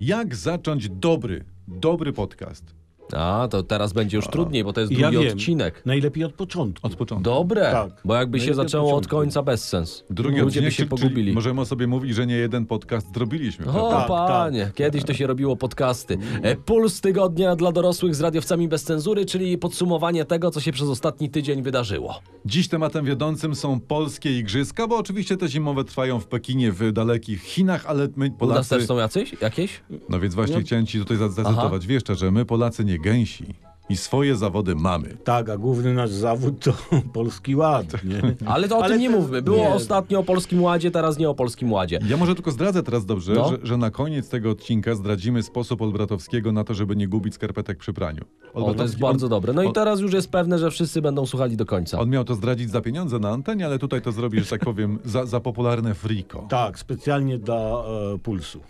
Jak zacząć dobry, dobry podcast? A, to teraz będzie już trudniej, bo to jest Ja drugi wiem. odcinek. Najlepiej od początku. Od początku. Dobre, Tak. bo jakby się Najlepiej od zaczęło od początku. końca bez sens. Drugi Ludzie by odcinek, się czyli- pogubili. Czyli możemy o sobie mówić, że nie jeden podcast zrobiliśmy. O, prawda? Tak, panie, kiedyś to się robiło podcasty. E, Puls tygodnia dla dorosłych z radiowcami bez cenzury, czyli podsumowanie tego, co się przez ostatni tydzień wydarzyło. Dziś tematem wiodącym są polskie igrzyska, bo oczywiście te zimowe trwają w Pekinie, w dalekich Chinach, ale my U nas Polacy... też są jacyś? Jakieś? No więc właśnie chciałem ci tutaj za- zacytować. Wiesz, że my Polacy nie gęsi i swoje zawody mamy. Tak, a główny nasz zawód to Polski Ład. Nie? Ale to o Ale tym nie to- mówmy. Było nie. ostatnio o Polskim Ładzie, teraz nie o Polskim Ładzie. Ja może tylko zdradzę teraz dobrze, No. że, że na koniec tego odcinka zdradzimy sposób Olbratowskiego na to, żeby nie gubić skarpetek przy praniu. O, to jest Olbratowski- bardzo on, dobre. No i on- teraz już jest pewne, że wszyscy będą słuchali do końca. On miał to zdradzić za pieniądze na antenie, ale tutaj to zrobi, że tak powiem, za, za popularne friko. Tak, specjalnie dla e, Pulsu.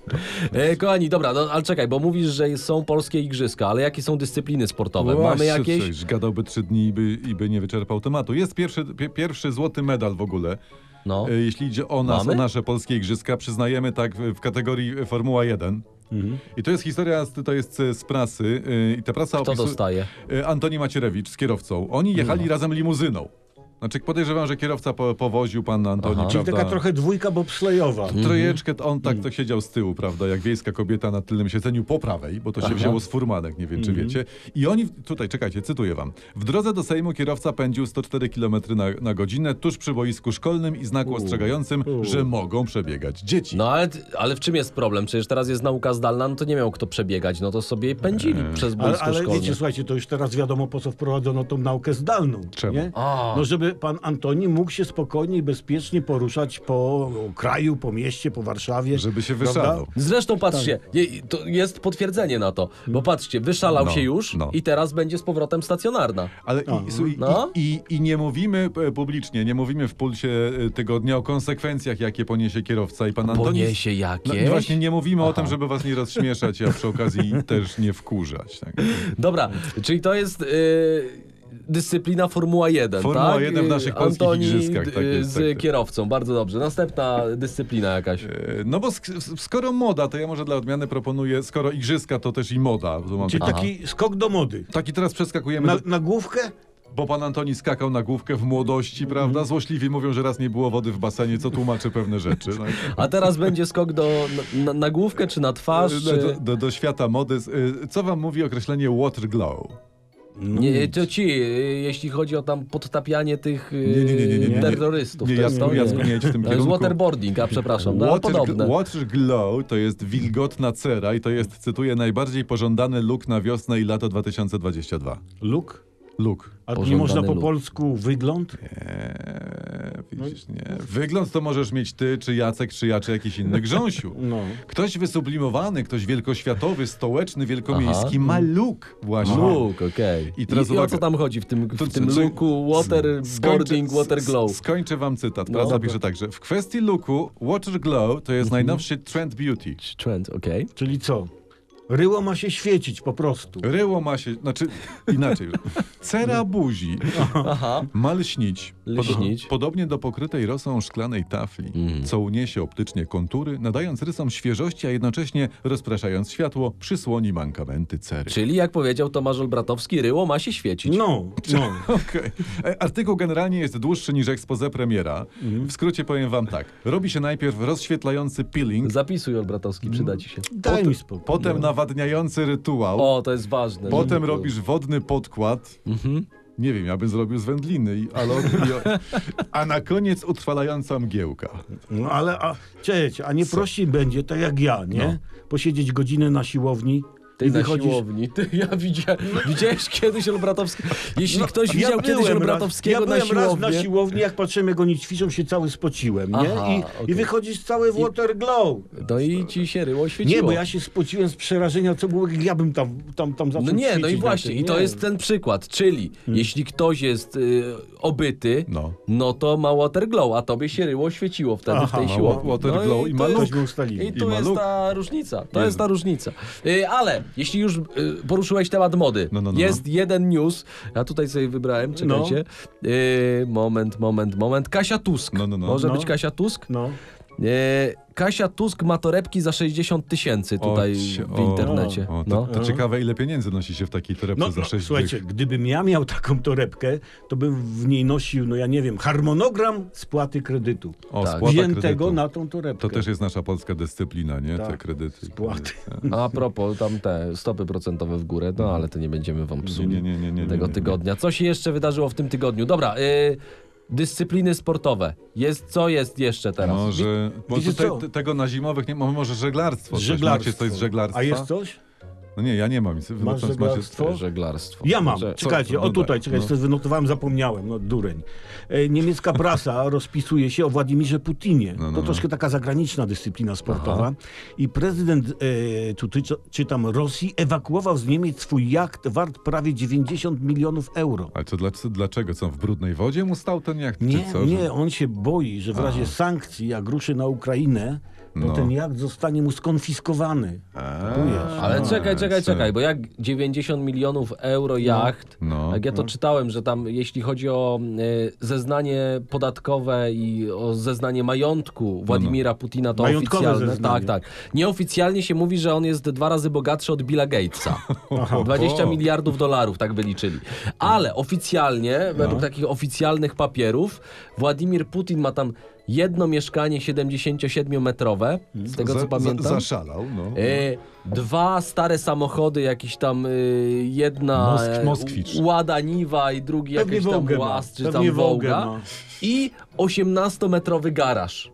E, kochani, dobra, no, ale czekaj, bo mówisz, że są polskie igrzyska, ale jakie są dyscypliny sportowe? Mamy Właśnie jakieś? Coś, gadałby trzy dni i by, i by nie wyczerpał tematu. Jest pierwszy, pie, pierwszy złoty medal w ogóle. No. E, Jeśli idzie o nas, Mamy? o nasze polskie igrzyska, przyznajemy tak w, w kategorii Formuła 1. Mhm. I to jest historia, z- to jest e, z prasy. e, I ta prasa Kto dostaje? No. E, Antoni Macierewicz z kierowcą. Oni jechali razem limuzyną. Znaczy podejrzewam, że kierowca po, powoził pan Antoni, Aha. prawda? Czyli taka trochę dwójka bobslejowa. Mm, Mhm. Trojeczkę, to on tak to siedział z tyłu, prawda, jak wiejska kobieta na tylnym siedzeniu po prawej, bo to się wzięło z furmanek, nie wiem czy Mhm. wiecie. I oni, w- tutaj czekajcie, cytuję wam. W drodze do Sejmu kierowca pędził 104 km na, na godzinę tuż przy boisku szkolnym i znaku ostrzegającym, że mogą przebiegać dzieci. No ale, ale w czym jest problem? Przecież teraz jest nauka zdalna, no to nie miał kto przebiegać, no to sobie pędzili E, przez Ale, boisko ale szkolne. wiecie, słuchajcie, to już teraz wiadomo, po co wprowadzono tą naukę zdalną. Czemu? Nie? A. No, żeby pan Antoni mógł się spokojnie i bezpiecznie poruszać po kraju, po mieście, po Warszawie. Żeby się prawda? wyszalał. tak. Zresztą patrzcie, je, to jest potwierdzenie na to, bo patrzcie, wyszalał No, się już no. i teraz będzie z powrotem stacjonarna. Ale i, i, słuchaj, No. i, i, i nie mówimy e, publicznie, nie mówimy w pulsie e, tygodnia o konsekwencjach, jakie poniesie kierowca i pan Antoni. Poniesie No, jakieś? właśnie nie mówimy o tym, żeby was nie rozśmieszać, a przy okazji też nie wkurzać. Tak. Dobra, czyli to jest... y, Dyscyplina Formuła 1, Formuła tak? 1 w Y, naszych polskich Antoni, igrzyskach, tak y, jest, tak z jest. kierowcą, bardzo dobrze. Następna dyscyplina jakaś. E, No bo sk- s- skoro moda, to ja może dla odmiany proponuję, skoro igrzyska, to też i moda. Bo mam Czyli taki... taki skok do mody. Tak. taki teraz przeskakujemy, Na, do... na główkę? bo pan Antoni skakał na główkę w młodości, Mhm. prawda? Złośliwi mówią, że raz nie było wody w basenie, co tłumaczy pewne rzeczy. Tak? A teraz będzie skok do, na, na, na główkę czy na twarz? Do, Czy... do, do, do świata mody. E, Co wam mówi określenie water glow? Nie, nie, to ci, y, jeśli chodzi o tam podtapianie tych y, Nie, nie, nie, nie, nie, nie. terrorystów. Nie, to- Jacku, to Jacku, nie jedź w tym To jest kierunku. waterboarding, a przepraszam, no, ale Water, podobne. water Glow to jest wilgotna cera i to jest, cytuję, najbardziej pożądany look na wiosnę i lato 2022. Luk? Look. A nie Pożądany można po luk. polsku wygląd? Eee, No widzisz, nie. Wygląd to możesz mieć ty, czy Jacek, czy ja, czy jakiś inny. Grząsiu. No. Ktoś wysublimowany, ktoś wielkoświatowy, stołeczny, wielkomiejski ma look właśnie. Luk, okej. I teraz I, I o uwaga. co tam chodzi w tym, To w co, tym czy- luku waterboarding, Skończę- water s- glow? s- Skończę wam cytat. No, Prawda dobra. Mhm. pisze tak, że w kwestii looku Water Glow to jest najnowszy trend beauty. Trend, okej. Czyli co? Ryło ma się świecić po prostu. Ryło ma się, znaczy inaczej. Cera buzi No. Aha. ma lśnić. Lśnić. Mhm. podobnie do pokrytej rosą szklanej tafli, co uniesie optycznie kontury, nadając rysom świeżości, a jednocześnie rozpraszając światło, przysłoni mankamenty cery. Czyli jak powiedział Tomasz Olbratowski, ryło ma się świecić. No, no. Okej. E, Artykuł generalnie jest dłuższy niż expose premiera. Mhm. W skrócie powiem wam tak. Robi się najpierw rozświetlający peeling, Zapisuj No. Olbratowski, przyda ci się. Daj mi spokój. potem nawadniający rytuał, No. O, to jest ważne. Potem żeby- Mhm. robisz wodny podkład. Nie wiem, ja bym zrobił z wędliny, i- ale. i- A na koniec utrwalająca mgiełka. No ale, a, cześć, a nie prościej będzie, tak jak ja, nie? Posiedzieć godzinę na siłowni No. Ty i na wychodzisz... siłowni. Ty, ja widziałem, widziałeś kiedyś Olbratowskiego. Jeśli ktoś widział kiedyś No, byłem Olbratowskiego raz, ja na byłem siłowni. raz na siłowni, jak patrzyłem, jak oni ćwiczą, się cały spociłem, nie? Aha, I, okej. I wychodzisz cały w water glow. No i ci się ryło świeciło. Nie, bo ja się spociłem z przerażenia, co było, jak ja bym tam, tam, tam zaczął No nie, no i ćwiczyć na właśnie, tym, i to nie. Hmm. jest ten przykład, czyli jeśli ktoś jest y, obyty, No. no. to ma water glow, a tobie się ryło świeciło wtedy Aha, w tej ma siłowni. water no glow i ma to luk. jest- Tośmy ustalili. I tu I ma jest luk. ta różnica, to Jezu. jest ta różnica. Y, ale, jeśli już y, poruszyłeś temat mody, No, no, no, jest jeden news, ja tutaj sobie wybrałem, czekajcie. Y, moment, moment, moment. Kasia Tusk, No, no, no. może No. być Kasia Tusk? No. E, Kasia Tusk ma torebki za 60 tysięcy tutaj ci- w internecie. O, tak, to, no. to ciekawe, ile pieniędzy nosi się w takiej torebce No, za no sześć słuchajcie, dych. gdybym ja miał taką torebkę, to bym w niej nosił, no ja nie wiem, harmonogram spłaty kredytu. O, tak. spłata Wziętego kredytu. na tą torebkę. To też jest nasza polska dyscyplina, nie? Te Tak. kredyty. Spłaty. Tak. A propos, tam te stopy procentowe w górę, no ale to nie będziemy wam Nie, psuli nie, nie, nie, nie, nie, tego nie. tygodnia. Co się jeszcze wydarzyło w tym tygodniu? Dobra, y, dyscypliny sportowe. Jest, co jest jeszcze teraz? Może, bo wiecie tutaj, co? te, tego na zimowych nie ma, może żeglarstwo. coś. Żeglarstwo. Macie coś z żeglarstwa? A jest coś? No nie, ja nie mam. Masz Masz żeglarstwo? Y, Żeglarstwo. Ja mam, Że- co- czekajcie, no o tutaj, tak, czekajcie, no. to wynotowałem, zapomniałem, no dureń. E, Niemiecka prasa rozpisuje się o Władimirze Putinie. no, to no. troszkę taka zagraniczna dyscyplina sportowa. I prezydent, e, tu ty, czytam, Rosji ewakuował z Niemiec swój jacht wart prawie 90 milionów euro. Ale to dla, dlaczego? Co, w brudnej wodzie mu stał ten jak? Nie, czy co? nie, on się boi, że w razie sankcji, jak ruszy na Ukrainę, to No. ten jacht zostanie mu skonfiskowany. A, Kupujesz. Ale a, czekaj, czekaj, co? czekaj, bo jak 90 milionów euro jacht, No. jak ja to czytałem, że tam jeśli chodzi o y, zeznanie podatkowe i o zeznanie No, majątku Władimira Putina, to Majątkowe oficjalne. zeznanie. Tak, tak. Nieoficjalnie się mówi, że on jest dwa razy bogatszy od Billa Gatesa. 20 Oho. miliardów dolarów, tak wyliczyli. Ale oficjalnie, No. według takich oficjalnych papierów, Władimir Putin ma tam jedno mieszkanie 77-metrowe, z tego Mm. Za- co za- pamiętam. Zaszalał, no. E, dwa stare samochody, jakiś tam e, jedna Mosk- e, Moskwicz. Łada Niwa i drugi Pewnie jakiś tam Wołgę ma. Łaz czy Pewnie tam Wołgę Wołga ma. i 18-metrowy garaż.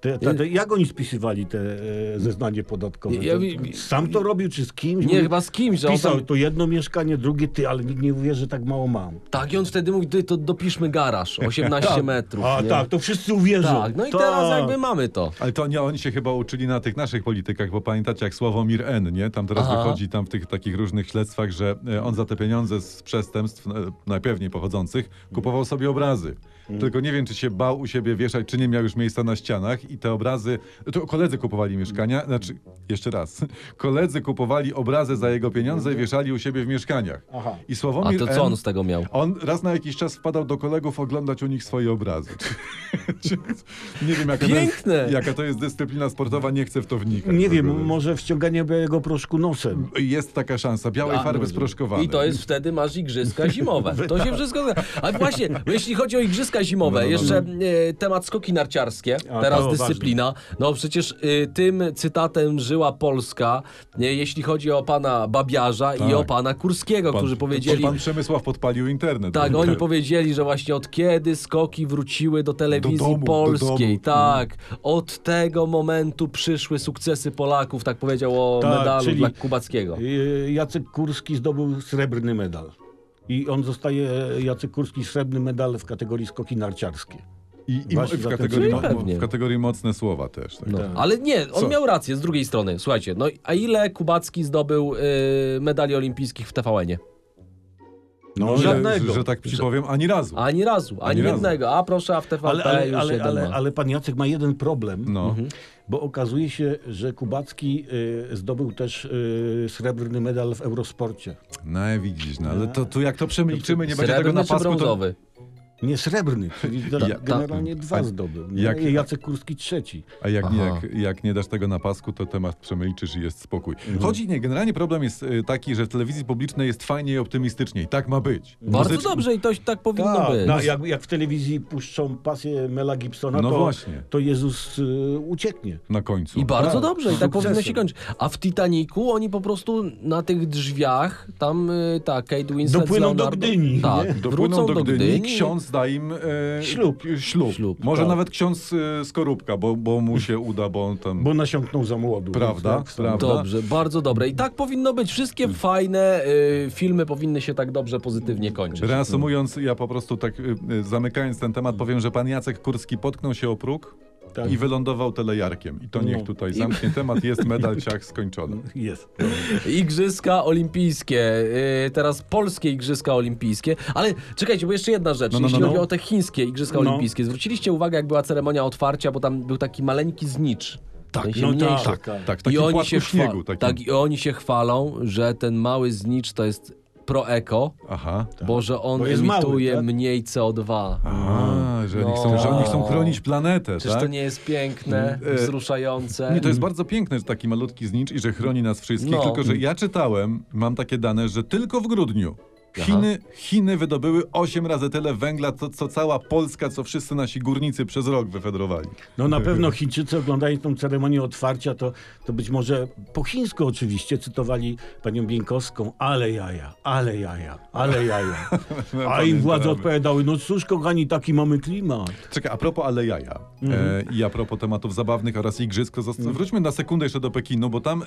Te, te, te, jak oni spisywali te e, zeznanie podatkowe? Ja- To- ja- Sam to robił, czy z kimś? Nie, Mówi- chyba z kimś, że on Pisał tam, to jedno mieszkanie, drugie ty, ale nikt nie uwierzy, że tak mało mam. Tak, i on wtedy mówi, "Ty, to dopiszmy garaż, 18 metrów. A nie? tak, to wszyscy uwierzą. tak. No i teraz jakby mamy to. Ale to nie, oni się chyba uczyli na tych naszych politykach, bo pamiętacie jak Sławomir N, nie? Tam teraz Aha. wychodzi tam w tych takich różnych śledztwach, że e, on za te pieniądze z przestępstw, e, najpewniej pochodzących, kupował sobie obrazy. Mm. Tylko nie wiem, czy się bał u siebie wieszać, czy nie miał już miejsca na ścianach i te obrazy, to koledzy kupowali mieszkania, znaczy, jeszcze raz, koledzy kupowali obrazy za jego pieniądze i wieszali u siebie w mieszkaniach. Aha. I Mm. A Sławomir to N, co on z tego miał? on raz na jakiś czas wpadał do kolegów oglądać u nich swoje obrazy. Czy- nie wiem, jaka, To Piękne! jest, jaka to jest dyscyplina sportowa, nie chcę w to wnikać. Nie w ogóle. Tak, wiem, może wciąganie białego proszku nosem. Jest taka szansa, białej A, farby może. sproszkowanej. I to jest wtedy masz igrzyska zimowe. To się wszystko zgadza. A właśnie, bo jeśli chodzi o igrzyska zimowe, No, no, no. jeszcze e, temat skoki narciarskie, A, teraz to dyscyplina. No przecież e, tym cytatem żyła Polska, e, jeśli chodzi o pana Babiarza i Tak. o pana Kurskiego, Pan- którzy powiedzieli... Pan Przemysław podpalił internet. Tak, oni powiedzieli, że właśnie od kiedy skoki wróciły do telewizji Do domu, do polskiej, domu. tak, od tego momentu przyszły sukcesy Polaków, tak powiedział o Tak, medalu czyli- dla Kubackiego. Y, Jacek Kurski zdobył srebrny medal. I on zostaje, Jacek Kurski, srebrny medal w kategorii skoki narciarskie. I, i Właśnie w, za tym- kategorii, Czyli mo- pewnie. w kategorii mocne słowa też. Tak. No, Tak. ale nie, on Co? miał rację z drugiej strony. Słuchajcie, no a ile Kubacki zdobył y, medali olimpijskich w TVN-ie? No, Że- żadnego. Że, że tak ci powiem, ani razu. Ani razu, ani, Ani razu. jednego. A proszę, a w TVP Ale, ale, już ale, jeden ale, ma. ale pan Jacek ma jeden problem. No. Mhm. Bo okazuje się, że Kubacki y, zdobył też y, srebrny medal w Eurosporcie. No i widzisz, no ale to, tu jak to przemilczymy, nie będzie Srebrny tego na czy pasku, to brązowy? Nie srebrny, czyli Ja- ta- generalnie dwa a- zdobył. Nie? jak- Jacek Kurski trzeci. A jak nie, Aha. jak, jak nie dasz tego na pasku, to temat przemilczysz i jest spokój. Mhm. Chodzi nie, generalnie problem jest y, taki, że w telewizji publicznej jest fajnie i optymistycznie i tak ma być. Bardzo Muzycznie- dobrze i to tak powinno być. no, jak, jak w telewizji puszczą pasję Mela Gibsona, No to, właśnie. to Jezus y, ucieknie. Na końcu. I bardzo Tak, dobrze, i tak sukcesem. powinno się kończyć. A w Titaniku oni po prostu na tych drzwiach, tam y, tak, Kate Winslet z Dopłyną do Leonardo- Gdyni, nie? Tak, Dopłyną wrócą do Gdyni, i- ksiądz da im e, Ślub. ślub. Ślub, Może tak. nawet ksiądz e, Skorupka, bo, bo mu się uda, bo on tam... Bo nasiąknął za młodu. Prawda, więc tak, prawda. Dobrze, bardzo dobre. I tak powinno być. Wszystkie fajne y, filmy powinny się tak dobrze, pozytywnie kończyć. Reasumując, ja po prostu tak e, e, zamykając ten temat, powiem, że pan Jacek Kurski potknął się o próg Tak. i wylądował telejarkiem. I to niech No. tutaj zamknie temat, jest medal ciach skończony. Jest. Igrzyska olimpijskie, y, teraz polskie igrzyska olimpijskie. Ale czekajcie, bo jeszcze jedna rzecz, No, no, no, jeśli no. chodzi o te chińskie igrzyska No. olimpijskie. Zwróciliście uwagę, jak była ceremonia otwarcia, bo tam był taki maleńki znicz. Tak, no tak. Tak, tak, w I takim oni płatku się chwa- śniegu. Takim. Tak, i oni się chwalą, że ten mały znicz to jest Proeko, Aha. bo że on Bo jest mały, emituje tak? mniej CO2. A, że, oni chcą, że oni chcą chronić planetę, Czyż tak? no. to nie jest piękne, Mm, e, wzruszające? Nie, to jest bardzo piękne, że taki malutki znicz i że chroni nas wszystkich, No. tylko że ja czytałem, mam takie dane, że tylko w grudniu Chiny, Chiny wydobyły 8 razy tyle węgla, co, co cała Polska, co wszyscy nasi górnicy przez rok wyfedrowali. No na pewno Chińczycy oglądając tą ceremonię otwarcia, to, to być może po chińsku oczywiście cytowali panią Bieńkowską, ale jaja, ale jaja, ale jaja. A im No, Pamiętamy. władze odpowiadały, no cóż kochani, taki mamy klimat. Czekaj, a propos ale jaja Mhm. e, i a propos tematów zabawnych oraz igrzysk, to zosta- wróćmy na sekundę jeszcze do Pekinu, bo tam, e,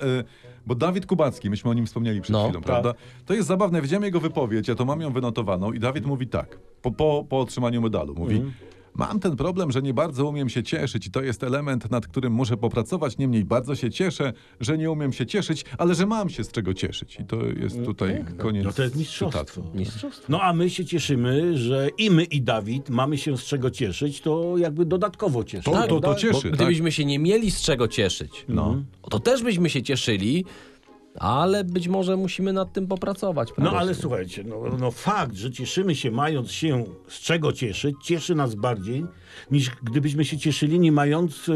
bo Dawid Kubacki, myśmy o nim wspomnieli przed No, chwilą, tak. prawda? To jest zabawne, widziałem jego wypowiedź, ja to mam ją wynotowaną i Dawid mówi tak, po, po, po otrzymaniu medalu, mówi... Mhm. Mam ten problem, że nie bardzo umiem się cieszyć i to jest element, nad którym muszę popracować. Niemniej bardzo się cieszę, że nie umiem się cieszyć, ale że mam się z czego cieszyć. I to jest tutaj koniec No to jest mistrzostwo. cytatu. Mistrzostwo. No a my się cieszymy, że i my i Dawid mamy się z czego cieszyć, to jakby dodatkowo cieszyć. To, to, to Bo cieszy, tak? gdybyśmy się nie mieli z czego cieszyć, No. to też byśmy się cieszyli, ale być może musimy nad tym popracować. po No prostu. ale słuchajcie, no, no fakt, że cieszymy się mając się z czego cieszyć, cieszy nas bardziej niż gdybyśmy się cieszyli nie mając y,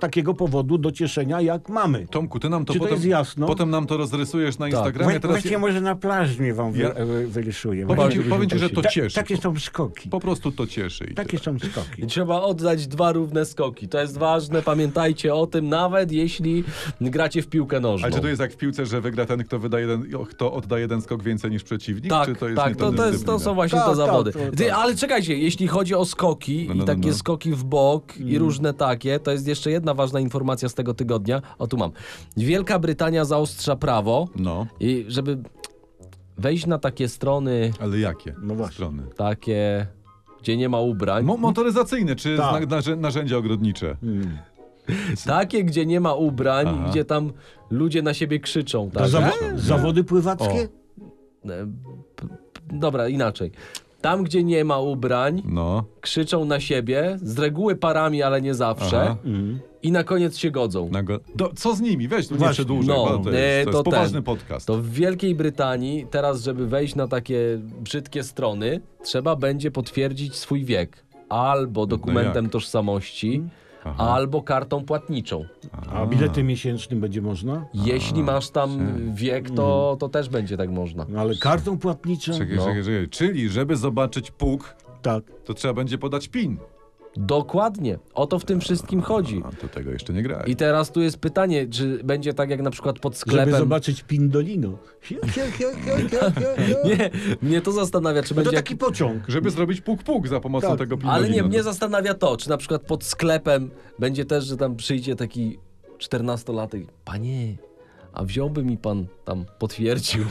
takiego powodu do cieszenia jak mamy. Tomku, ty nam to, Czy to potem, jest jasno? potem nam to rozrysujesz Tak. na Instagramie. Wła- Teraz Właśnie może na plażmie wam Ja- ja... wyrysuję. powiem ci, Właśnie. powiem ci, że to Ta- cieszy. Takie są skoki. Po prostu to cieszy. i Takie tyle. są skoki. Trzeba oddać dwa równe skoki. To jest ważne, pamiętajcie o tym, nawet jeśli gracie w piłkę nożną. Ale czy to jest jak w piłce, że wygra ten, kto, wyda jeden, kto odda jeden skok więcej niż przeciwnik? Tak, czy to jest tak, nie to, ta to, jest, to są dyscyplina? właśnie Tak, tak, te zawody. to- tak. Ty, ale czekajcie, jeśli chodzi o skoki No, no, i no, takie no. Mhm. skoki w bok i różne takie, to jest jeszcze jedna ważna informacja z tego tygodnia. O, tu mam. Wielka Brytania zaostrza prawo No, i żeby wejść na takie strony, ale jakie No właśnie. strony? takie, gdzie nie ma ubrań, Mo motoryzacyjne, czy Tak. znak- narzę- narzędzia ogrodnicze? Mm. takie, gdzie nie ma ubrań, Aha. No, gdzie tam ludzie na siebie krzyczą. To Tak? zawo- zawody pływackie? E, p- p- Dobra, inaczej. Tam, gdzie nie ma ubrań, No, krzyczą na siebie, z reguły parami, ale nie zawsze, Aha. Mm. i na koniec się godzą. na go... Do, co z nimi? Weź, tu nie Właśnie. przedłużaj, No, bo to jest, to nie, jest to ten. poważny podcast. To w Wielkiej Brytanii, teraz, żeby wejść na takie brzydkie strony, trzeba będzie potwierdzić swój wiek. Albo dokumentem No jak? Mhm. tożsamości, Aha. albo kartą płatniczą. A bilety miesięcznym będzie można? Jeśli masz tam wiek, to, to też będzie tak można. No, ale kartą płatniczą? Czekaj, No. czekaj, czekaj. Czyli, żeby zobaczyć puk, Tak. to trzeba będzie podać PIN. Dokładnie. O to w tym wszystkim chodzi. A, to tego jeszcze nie grałem. I teraz tu jest pytanie, czy będzie tak jak na przykład pod Żeby sklepem... zobaczyć Pindolino. Hi, hi, hi, hi, hi, hi, hi. Nie, mnie to zastanawia, czy No to będzie... taki pociąg. Żeby zrobić puk-puk za pomocą Tak. tego PIN. Ale nie, mnie zastanawia to, czy na przykład pod sklepem będzie też, że tam przyjdzie taki 14-latek. Panie, a wziąłby mi pan tam potwierdził.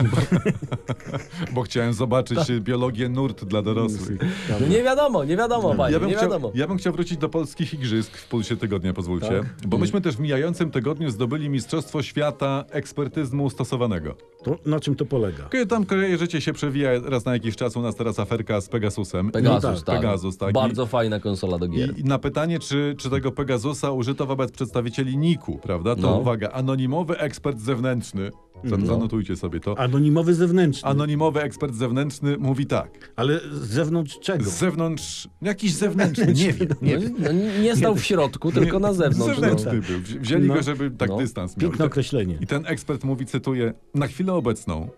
Bo chciałem zobaczyć Tak. y, biologię nurt dla dorosłych. No nie wiadomo, nie wiadomo, panie, Ja bym, nie chciał, wiadomo. ja bym chciał wrócić do polskich igrzysk w pulsie tygodnia, pozwólcie. Tak. Mm. Bo myśmy też w mijającym tygodniu zdobyli Mistrzostwo Świata Ekspertyzmu Stosowanego. To, na czym to polega? Kiedy tam kojarzycie się przewija raz na jakiś czas u nas teraz aferka z Pegasusem. Pegasus, No tak. Pegasus, tak. Bardzo fajna konsola do I, gier. i, I na pytanie, czy, czy tego Pegasusa użyto wobec przedstawicieli NIK-u, prawda? To No. Mm. uwaga, anonimowy ekspert zewnętrzny. Zan- Zanotujcie sobie to. Anonimowy zewnętrzny. Anonimowy ekspert zewnętrzny mówi tak. Ale z zewnątrz czego? Z zewnątrz, jakiś zewnętrzny, nie wiem. Nie, no, nie stał w środku, tylko na zewnątrz. Zewnętrzny był. Wzi- Wzięli No. go, żeby tak No. dystans miał. Piękne określenie. I ten ekspert mówi, cytuję, na chwilę obecną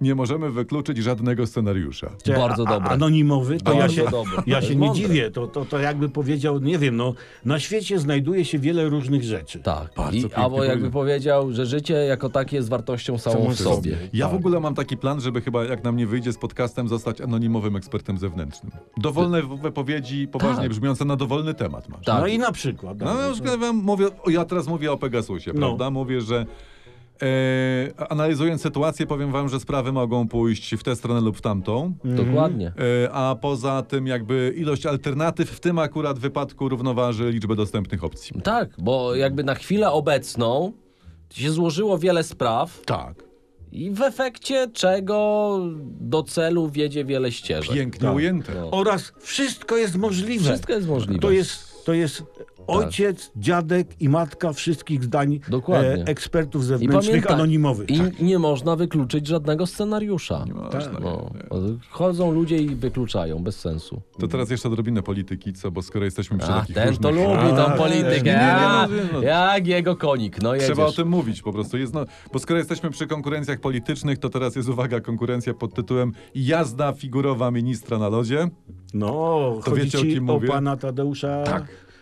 nie możemy wykluczyć żadnego scenariusza. Czy- Bardzo a- dobre. Anonimowy, to ja Bardzo się, dobre. To ja jest się nie mądre. dziwię. To, to, to jakby powiedział, nie wiem, no, na świecie znajduje się wiele różnych rzeczy. Tak. Bardzo I, pięknie albo jakby powiedział. powiedział, że życie jako takie jest wartością samą w sobie. Ja w ogóle mam taki plan, żeby chyba jak nam nie wyjdzie z podcastem, zostać anonimowym ekspertem zewnętrznym. Dowolne w- wypowiedzi poważnie Tak. brzmiące na dowolny temat masz. Tak. No i na przykład. No, na przykład wam mówię, o, ja teraz mówię o Pegasusie, No. prawda? Mówię, że e, analizując sytuację, powiem wam, że sprawy mogą pójść w tę stronę lub w tamtą. No. Dokładnie. E, A poza tym jakby ilość alternatyw w tym akurat wypadku równoważy liczbę dostępnych opcji. Tak, bo jakby na chwilę obecną się złożyło wiele spraw, Tak. I w efekcie czego do celu wiedzie wiele ścieżek. Pięknie ujęte. No. Oraz wszystko jest możliwe. Wszystko jest możliwe. Tak. To jest to jest ojciec, dziadek i matka wszystkich zdań Dokładnie. e, ekspertów I zewnętrznych, pamiętaj, anonimowych. I nie można wykluczyć żadnego scenariusza. Nie można. Tak. nie, No. nie. Chodzą ludzie i wykluczają, bez sensu. To teraz jeszcze odrobinę polityki, co, bo skoro jesteśmy przy A, takich ten to różnych... lubi tą A, politykę. nie, nie, A, nie, nie, no. Jak jego konik, no jedziesz. Trzeba o tym mówić po prostu. Jest, no, bo skoro jesteśmy przy konkurencjach politycznych, to teraz jest uwaga, konkurencja pod tytułem Jazda figurowa ministra na lodzie. No, To chodzi wiecie, o ci kim o mówię? Tak. pana Tadeusza.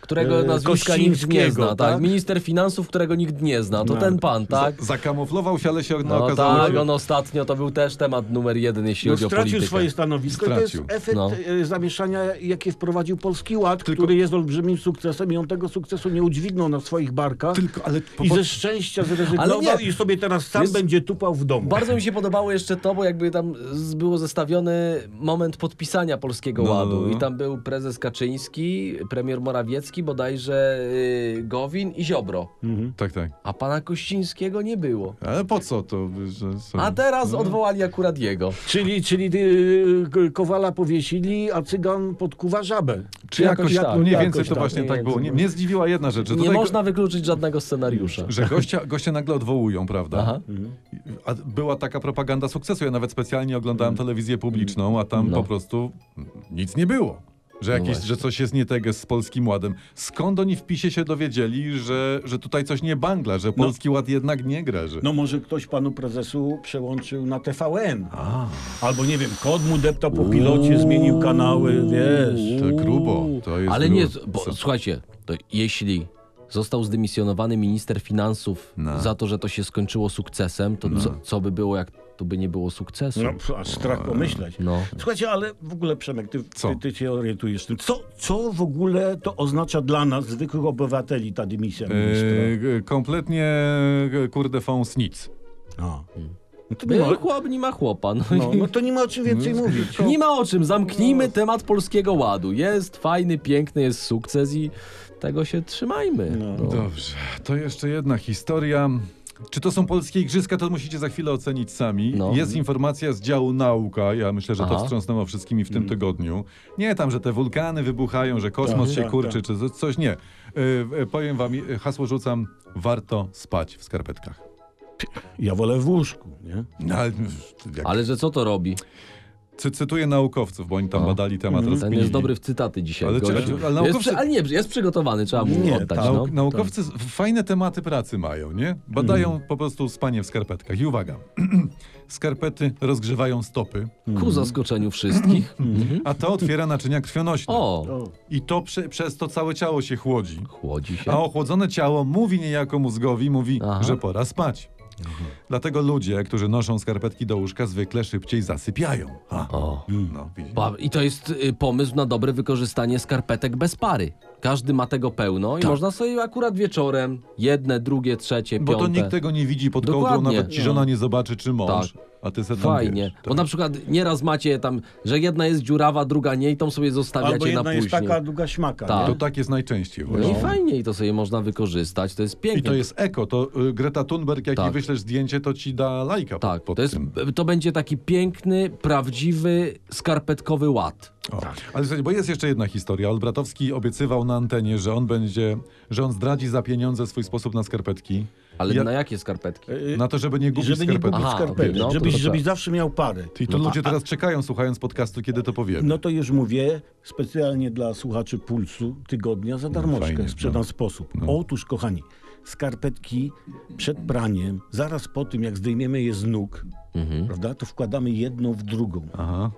Którego e, nazwiska nikt nie Kościńskiego, zna, tak? tak? Minister finansów, którego nikt nie zna, to No. ten pan, tak? Zakamuflował się, ale się no, No okazało tak, się... on ostatnio to był też temat numer jeden, jeśli No, chodzi o stracił politykę. swoje stanowisko i Stracił. to jest efekt No. e, zamieszania, jakie wprowadził Polski Ład, Tylko- który jest olbrzymim sukcesem i on tego sukcesu nie udźwignął na swoich barkach. Tylko, ale... I ze szczęścia zrezygnował Ale nie. i sobie teraz sam Jest- będzie tupał w domu. Bardzo mi się podobało jeszcze to, bo jakby tam z- było zestawiony moment podpisania Polskiego No, no, Ładu no. i tam był prezes Kaczyński, premier Morawiecki, bodajże y, Gowin i Ziobro, Tak, tak. a pana Kościńskiego nie było. Ale po co to? Że, że... A teraz odwołali akurat jego. Czyli, czyli y, k- Kowala powiesili, a Cygan podkuwa żabę. Czy jakoś, jakoś tak, mniej jakoś więcej to tak, właśnie mniej tak więcej. było. Nie, mnie zdziwiła jedna rzecz. że Nie tutaj go- można wykluczyć żadnego scenariusza. Że gościa, gościa nagle odwołują, prawda? Aha. A była taka propaganda sukcesu. Ja nawet specjalnie oglądałem telewizję publiczną, a tam No. po prostu nic nie było. Że, jakieś, właśnie. że coś jest nie tego z Polskim Ładem. Skąd oni w PiSie się dowiedzieli, że, że tutaj coś nie bangla, No. że Polski Ład jednak nie gra? Że... No może ktoś panu prezesu przełączył na TVN. Albo nie wiem, kod mu deptał po pilocie, zmienił kanały, wiesz. To grubo, to jest Ale nie, grubo. bo Co? słuchajcie, to jeśli został zdymisjonowany minister finansów No. za to, że to się skończyło sukcesem, to co, co by było, jak to by nie było sukcesu? No, pf, aż strach pomyśleć. No. Słuchajcie, ale w ogóle Przemek, ty, Co? ty, ty się orientujesz w tym. Co, co w ogóle to oznacza dla nas, zwykłych obywateli, ta dymisja ministra? Yy, kompletnie yy, kurde fąs nic. A. No to nie ma, No, chłop nie ma chłopa. No. no, no to nie ma o czym więcej mówić. Nie ma o czym, zamknijmy temat Polskiego Ładu. Jest fajny, piękny, jest sukces i tego się trzymajmy. No. No. Dobrze, to jeszcze jedna historia. Czy to są polskie igrzyska, to musicie za chwilę ocenić sami. No. Jest informacja z działu nauka, ja myślę, że to Aha. wstrząsnęło wszystkimi w Mm. tym tygodniu. Nie tam, że te wulkany wybuchają, że kosmos Tak, się tak, kurczy, czy z- coś, nie. Y, y, powiem wam, y, hasło rzucam, warto spać w skarpetkach. Ja wolę w łóżku, nie? No, ale, jak, Ale że co to robi? cy, cytuję naukowców, bo oni tam No. badali temat. Ten rozkminili. jest dobry w cytaty dzisiaj. Ale czy- gościu. ale- ale jest, naukowcy- przy, ale nie, jest przygotowany, trzeba mu Nie, oddać. Nau, No. naukowcy z- fajne tematy pracy mają, nie? Badają Mhm. po prostu spanie w skarpetkach. I uwaga, skarpety rozgrzewają stopy, Ku zaskoczeniu wszystkich. a to otwiera naczynia krwionośne. O, O. I to prze, przez to całe ciało się chłodzi. chłodzi się. A ochłodzone ciało mówi niejako mózgowi, mówi, Aha. Mhm. że pora spać. Dlatego ludzie, którzy noszą skarpetki do łóżka, zwykle szybciej zasypiają. A, O. no, widzisz. Ba- I to jest y, pomysł na dobre wykorzystanie skarpetek bez pary. Każdy ma tego pełno Tak. i można sobie akurat wieczorem jedne, drugie, trzecie, Bo to piąte. nikt tego nie widzi pod kołdrą, Dokładnie. No. Tak. nawet ci żona nie zobaczy, czy mąż. A ty se tam Fajnie. Wiesz, Bo na przykład nieraz macie tam, że jedna jest dziurawa, druga nie i tą sobie zostawiacie Albo na jedna później. jest taka, a druga śmaka. Tak. To tak jest najczęściej No właśnie. i fajnie i to sobie można wykorzystać, to jest piękne. I to jest eko, to y, Greta Thunberg, jak Tak. jej wyślesz zdjęcie, to ci da lajka pod- Tak, pod to, jest, tym. to będzie taki piękny, prawdziwy, skarpetkowy ład. O. Ale słuchajcie, bo jest jeszcze jedna historia. Olbratowski obiecywał na antenie, że on będzie, że on zdradzi za pieniądze swój sposób na skarpetki. Ale Ja- na jakie skarpetki? Y, Na to, żeby nie gubić żeby nie skarpetek. gubić Aha, skarpetek, okej, no tak. to żebyś, to tak. żebyś zawsze miał parę. I to ludzie teraz czekają, słuchając podcastu, kiedy to powiemy. No to już mówię specjalnie dla słuchaczy Pulsu Tygodnia za darmożkę fajnie, sprzedam no. sposób. Otóż, kochani, skarpetki przed praniem, zaraz po tym, jak zdejmiemy je z nóg, Mhm. prawda, to wkładamy jedną w drugą. Aha.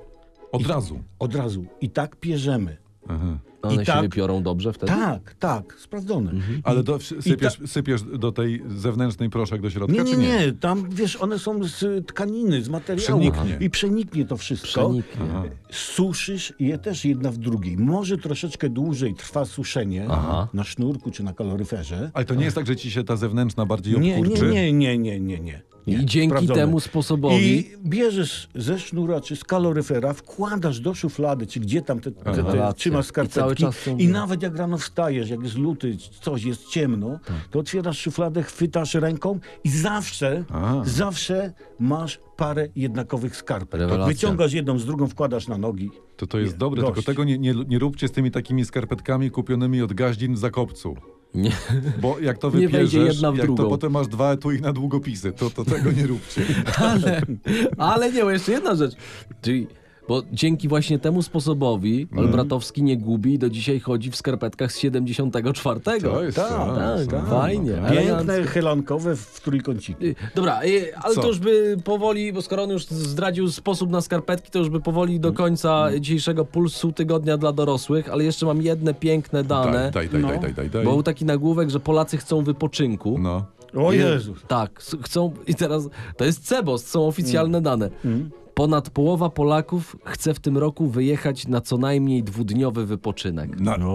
Od razu. Od razu. I tak pierzemy. Aha. One i się tak- wypiorą dobrze wtedy? Tak, tak, sprawdzone. Mhm. Ale do, sypiesz, sypiesz do tej zewnętrznej proszek do środka, Nie, nie, czy nie? nie, tam wiesz, one są z y, tkaniny, z materiału Przeniknie. i przeniknie to wszystko. Przeniknie. Aha. Suszysz je też jedna w drugiej. Może troszeczkę dłużej trwa suszenie Aha. na sznurku czy na kaloryferze. Ale to nie jest tak, że ci się ta zewnętrzna bardziej Nie, nie, obkurczy? nie, nie, nie, nie, nie. Nie, I dzięki sprawdzone. temu sposobowi... I bierzesz ze sznura czy z kaloryfera, wkładasz do szuflady, czy gdzie tam te, te, Aha. te Rację. trzymasz I skarpetki. cały czas są- I nawet jak rano wstajesz, jak jest luty, czy coś jest ciemno, Tak. to otwierasz szufladę, chwytasz ręką i zawsze, A. zawsze masz parę jednakowych skarpet. Rewelacja. Wyciągasz jedną z drugą, wkładasz na nogi. To to jest Nie, dobre, gość. tylko tego nie, nie, nie róbcie z tymi takimi skarpetkami kupionymi od gaździn w Zakopcu. Nie. Bo jak to Nie wejdzie wybierzesz, jedna w jak drugą. to potem masz dwa etui na długopisy, to, to tego nie róbcie. Ale, ale nie, bo jeszcze jedna rzecz. Czyli, bo dzięki właśnie temu sposobowi Mhm. Olbratowski nie gubi i do dzisiaj chodzi w skarpetkach z 74. To jest Tak, to, tak, to- fajnie. no, Piękne, helankowe w trójkąciku. Y, Dobra, y, ale Co? to już by powoli, bo skoro on już zdradził sposób na skarpetki, to już by powoli do Mhm. końca dzisiejszego pulsu tygodnia dla dorosłych, ale jeszcze mam jedne piękne dane, Daj, no. daj, daj, No. daj, daj, daj, daj. bo był taki nagłówek, że Polacy chcą wypoczynku. No. O I- Jezus. Tak, s- chcą i teraz to jest CEBOS, są oficjalne Mm. dane. Ponad połowa Polaków chce w tym roku wyjechać na co najmniej dwudniowy wypoczynek. Na, na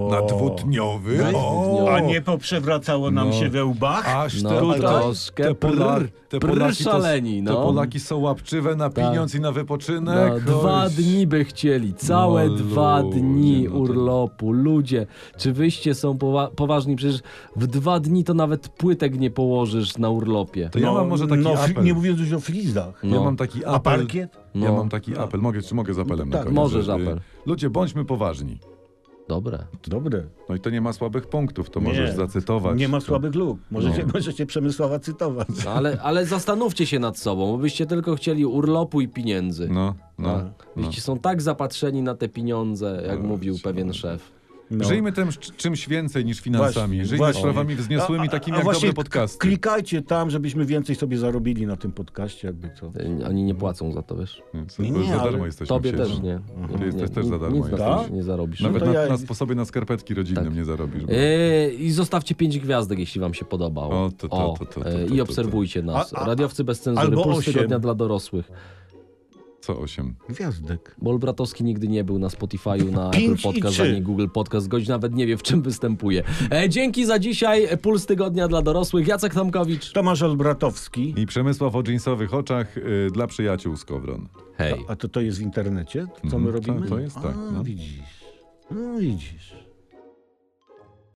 dwudniowy? O! A nie poprzewracało nam No. się we łbach? Aż No, te, tutaj- troszkę te, prr, Polar, te, prr Polaki to, szaleni, no. Tak. te Polaki są łapczywe na pieniądz i na wypoczynek. No, To dwa jest- dni by chcieli, całe No, dwa ludzie, dni no to- urlopu. Ludzie, czy wyście są powa- poważni? Przecież w dwa dni to nawet płytek nie położysz na urlopie. To ja mam może taki no, fli- apel. Nie mówiąc już o flizdach. No. Ja mam taki apel. A parkiet? Ja No. mam taki apel. Mogę, czy mogę z apelem Tak, na koniec? możesz Że, y, apel. Ludzie, bądźmy poważni. Dobre. Dobre. No i to nie ma słabych punktów, to Nie. możesz zacytować. No. Nie ma To- słabych luk. Możecie, możecie Przemysława cytować. No, ale, ale zastanówcie się nad sobą, bo byście tylko chcieli urlopu i pieniędzy. No, no. Tak. Wyście są tak zapatrzeni na te pieniądze, jak mówił pewien szef. No. Żyjmy tym z- czymś więcej niż finansami. Właśnie, Żyjmy właśnie. sprawami wzniosłymi, A- a- takimi a jak właśnie dobre podcasty. Klikajcie tam, żebyśmy więcej sobie zarobili na tym podcaście, jakby co. Y, Oni nie płacą za to, wiesz. Co, Nie, bo nie, za ale darmo jesteśmy Tobie przecież. też nie. Mhm. Ty jesteś też za nic- darmo Nic na jesteś. tym nie zarobisz. Nawet No to na, ja- na sposobie na skarpetki rodzinne Tak. mnie zarobisz. bo- E, I zostawcie pięć gwiazdek, jeśli wam się podobało. O, to, to, to, to, to, e, to, I to, to. obserwujcie nas. A- a- Radiowcy bez cenzury, albo puls osiem. tygodnia dla dorosłych. Co osiem? Gwiazdek. Bol Bratowski nigdy nie był na Spotify'u, na Apple Pięć i Podcast, trzy. ani Google Podcast. Gość nawet nie wie, w czym występuje. E, dzięki za dzisiaj. Puls tygodnia dla dorosłych. Jacek Tomkowicz. Tomasz Olbratowski. I Przemysław o dżinsowych oczach y, dla przyjaciół z Kowron. Tak. Hej. A to to jest w internecie? To, co Mhm, my robimy? to- to jest tak, A, no. widzisz. No widzisz.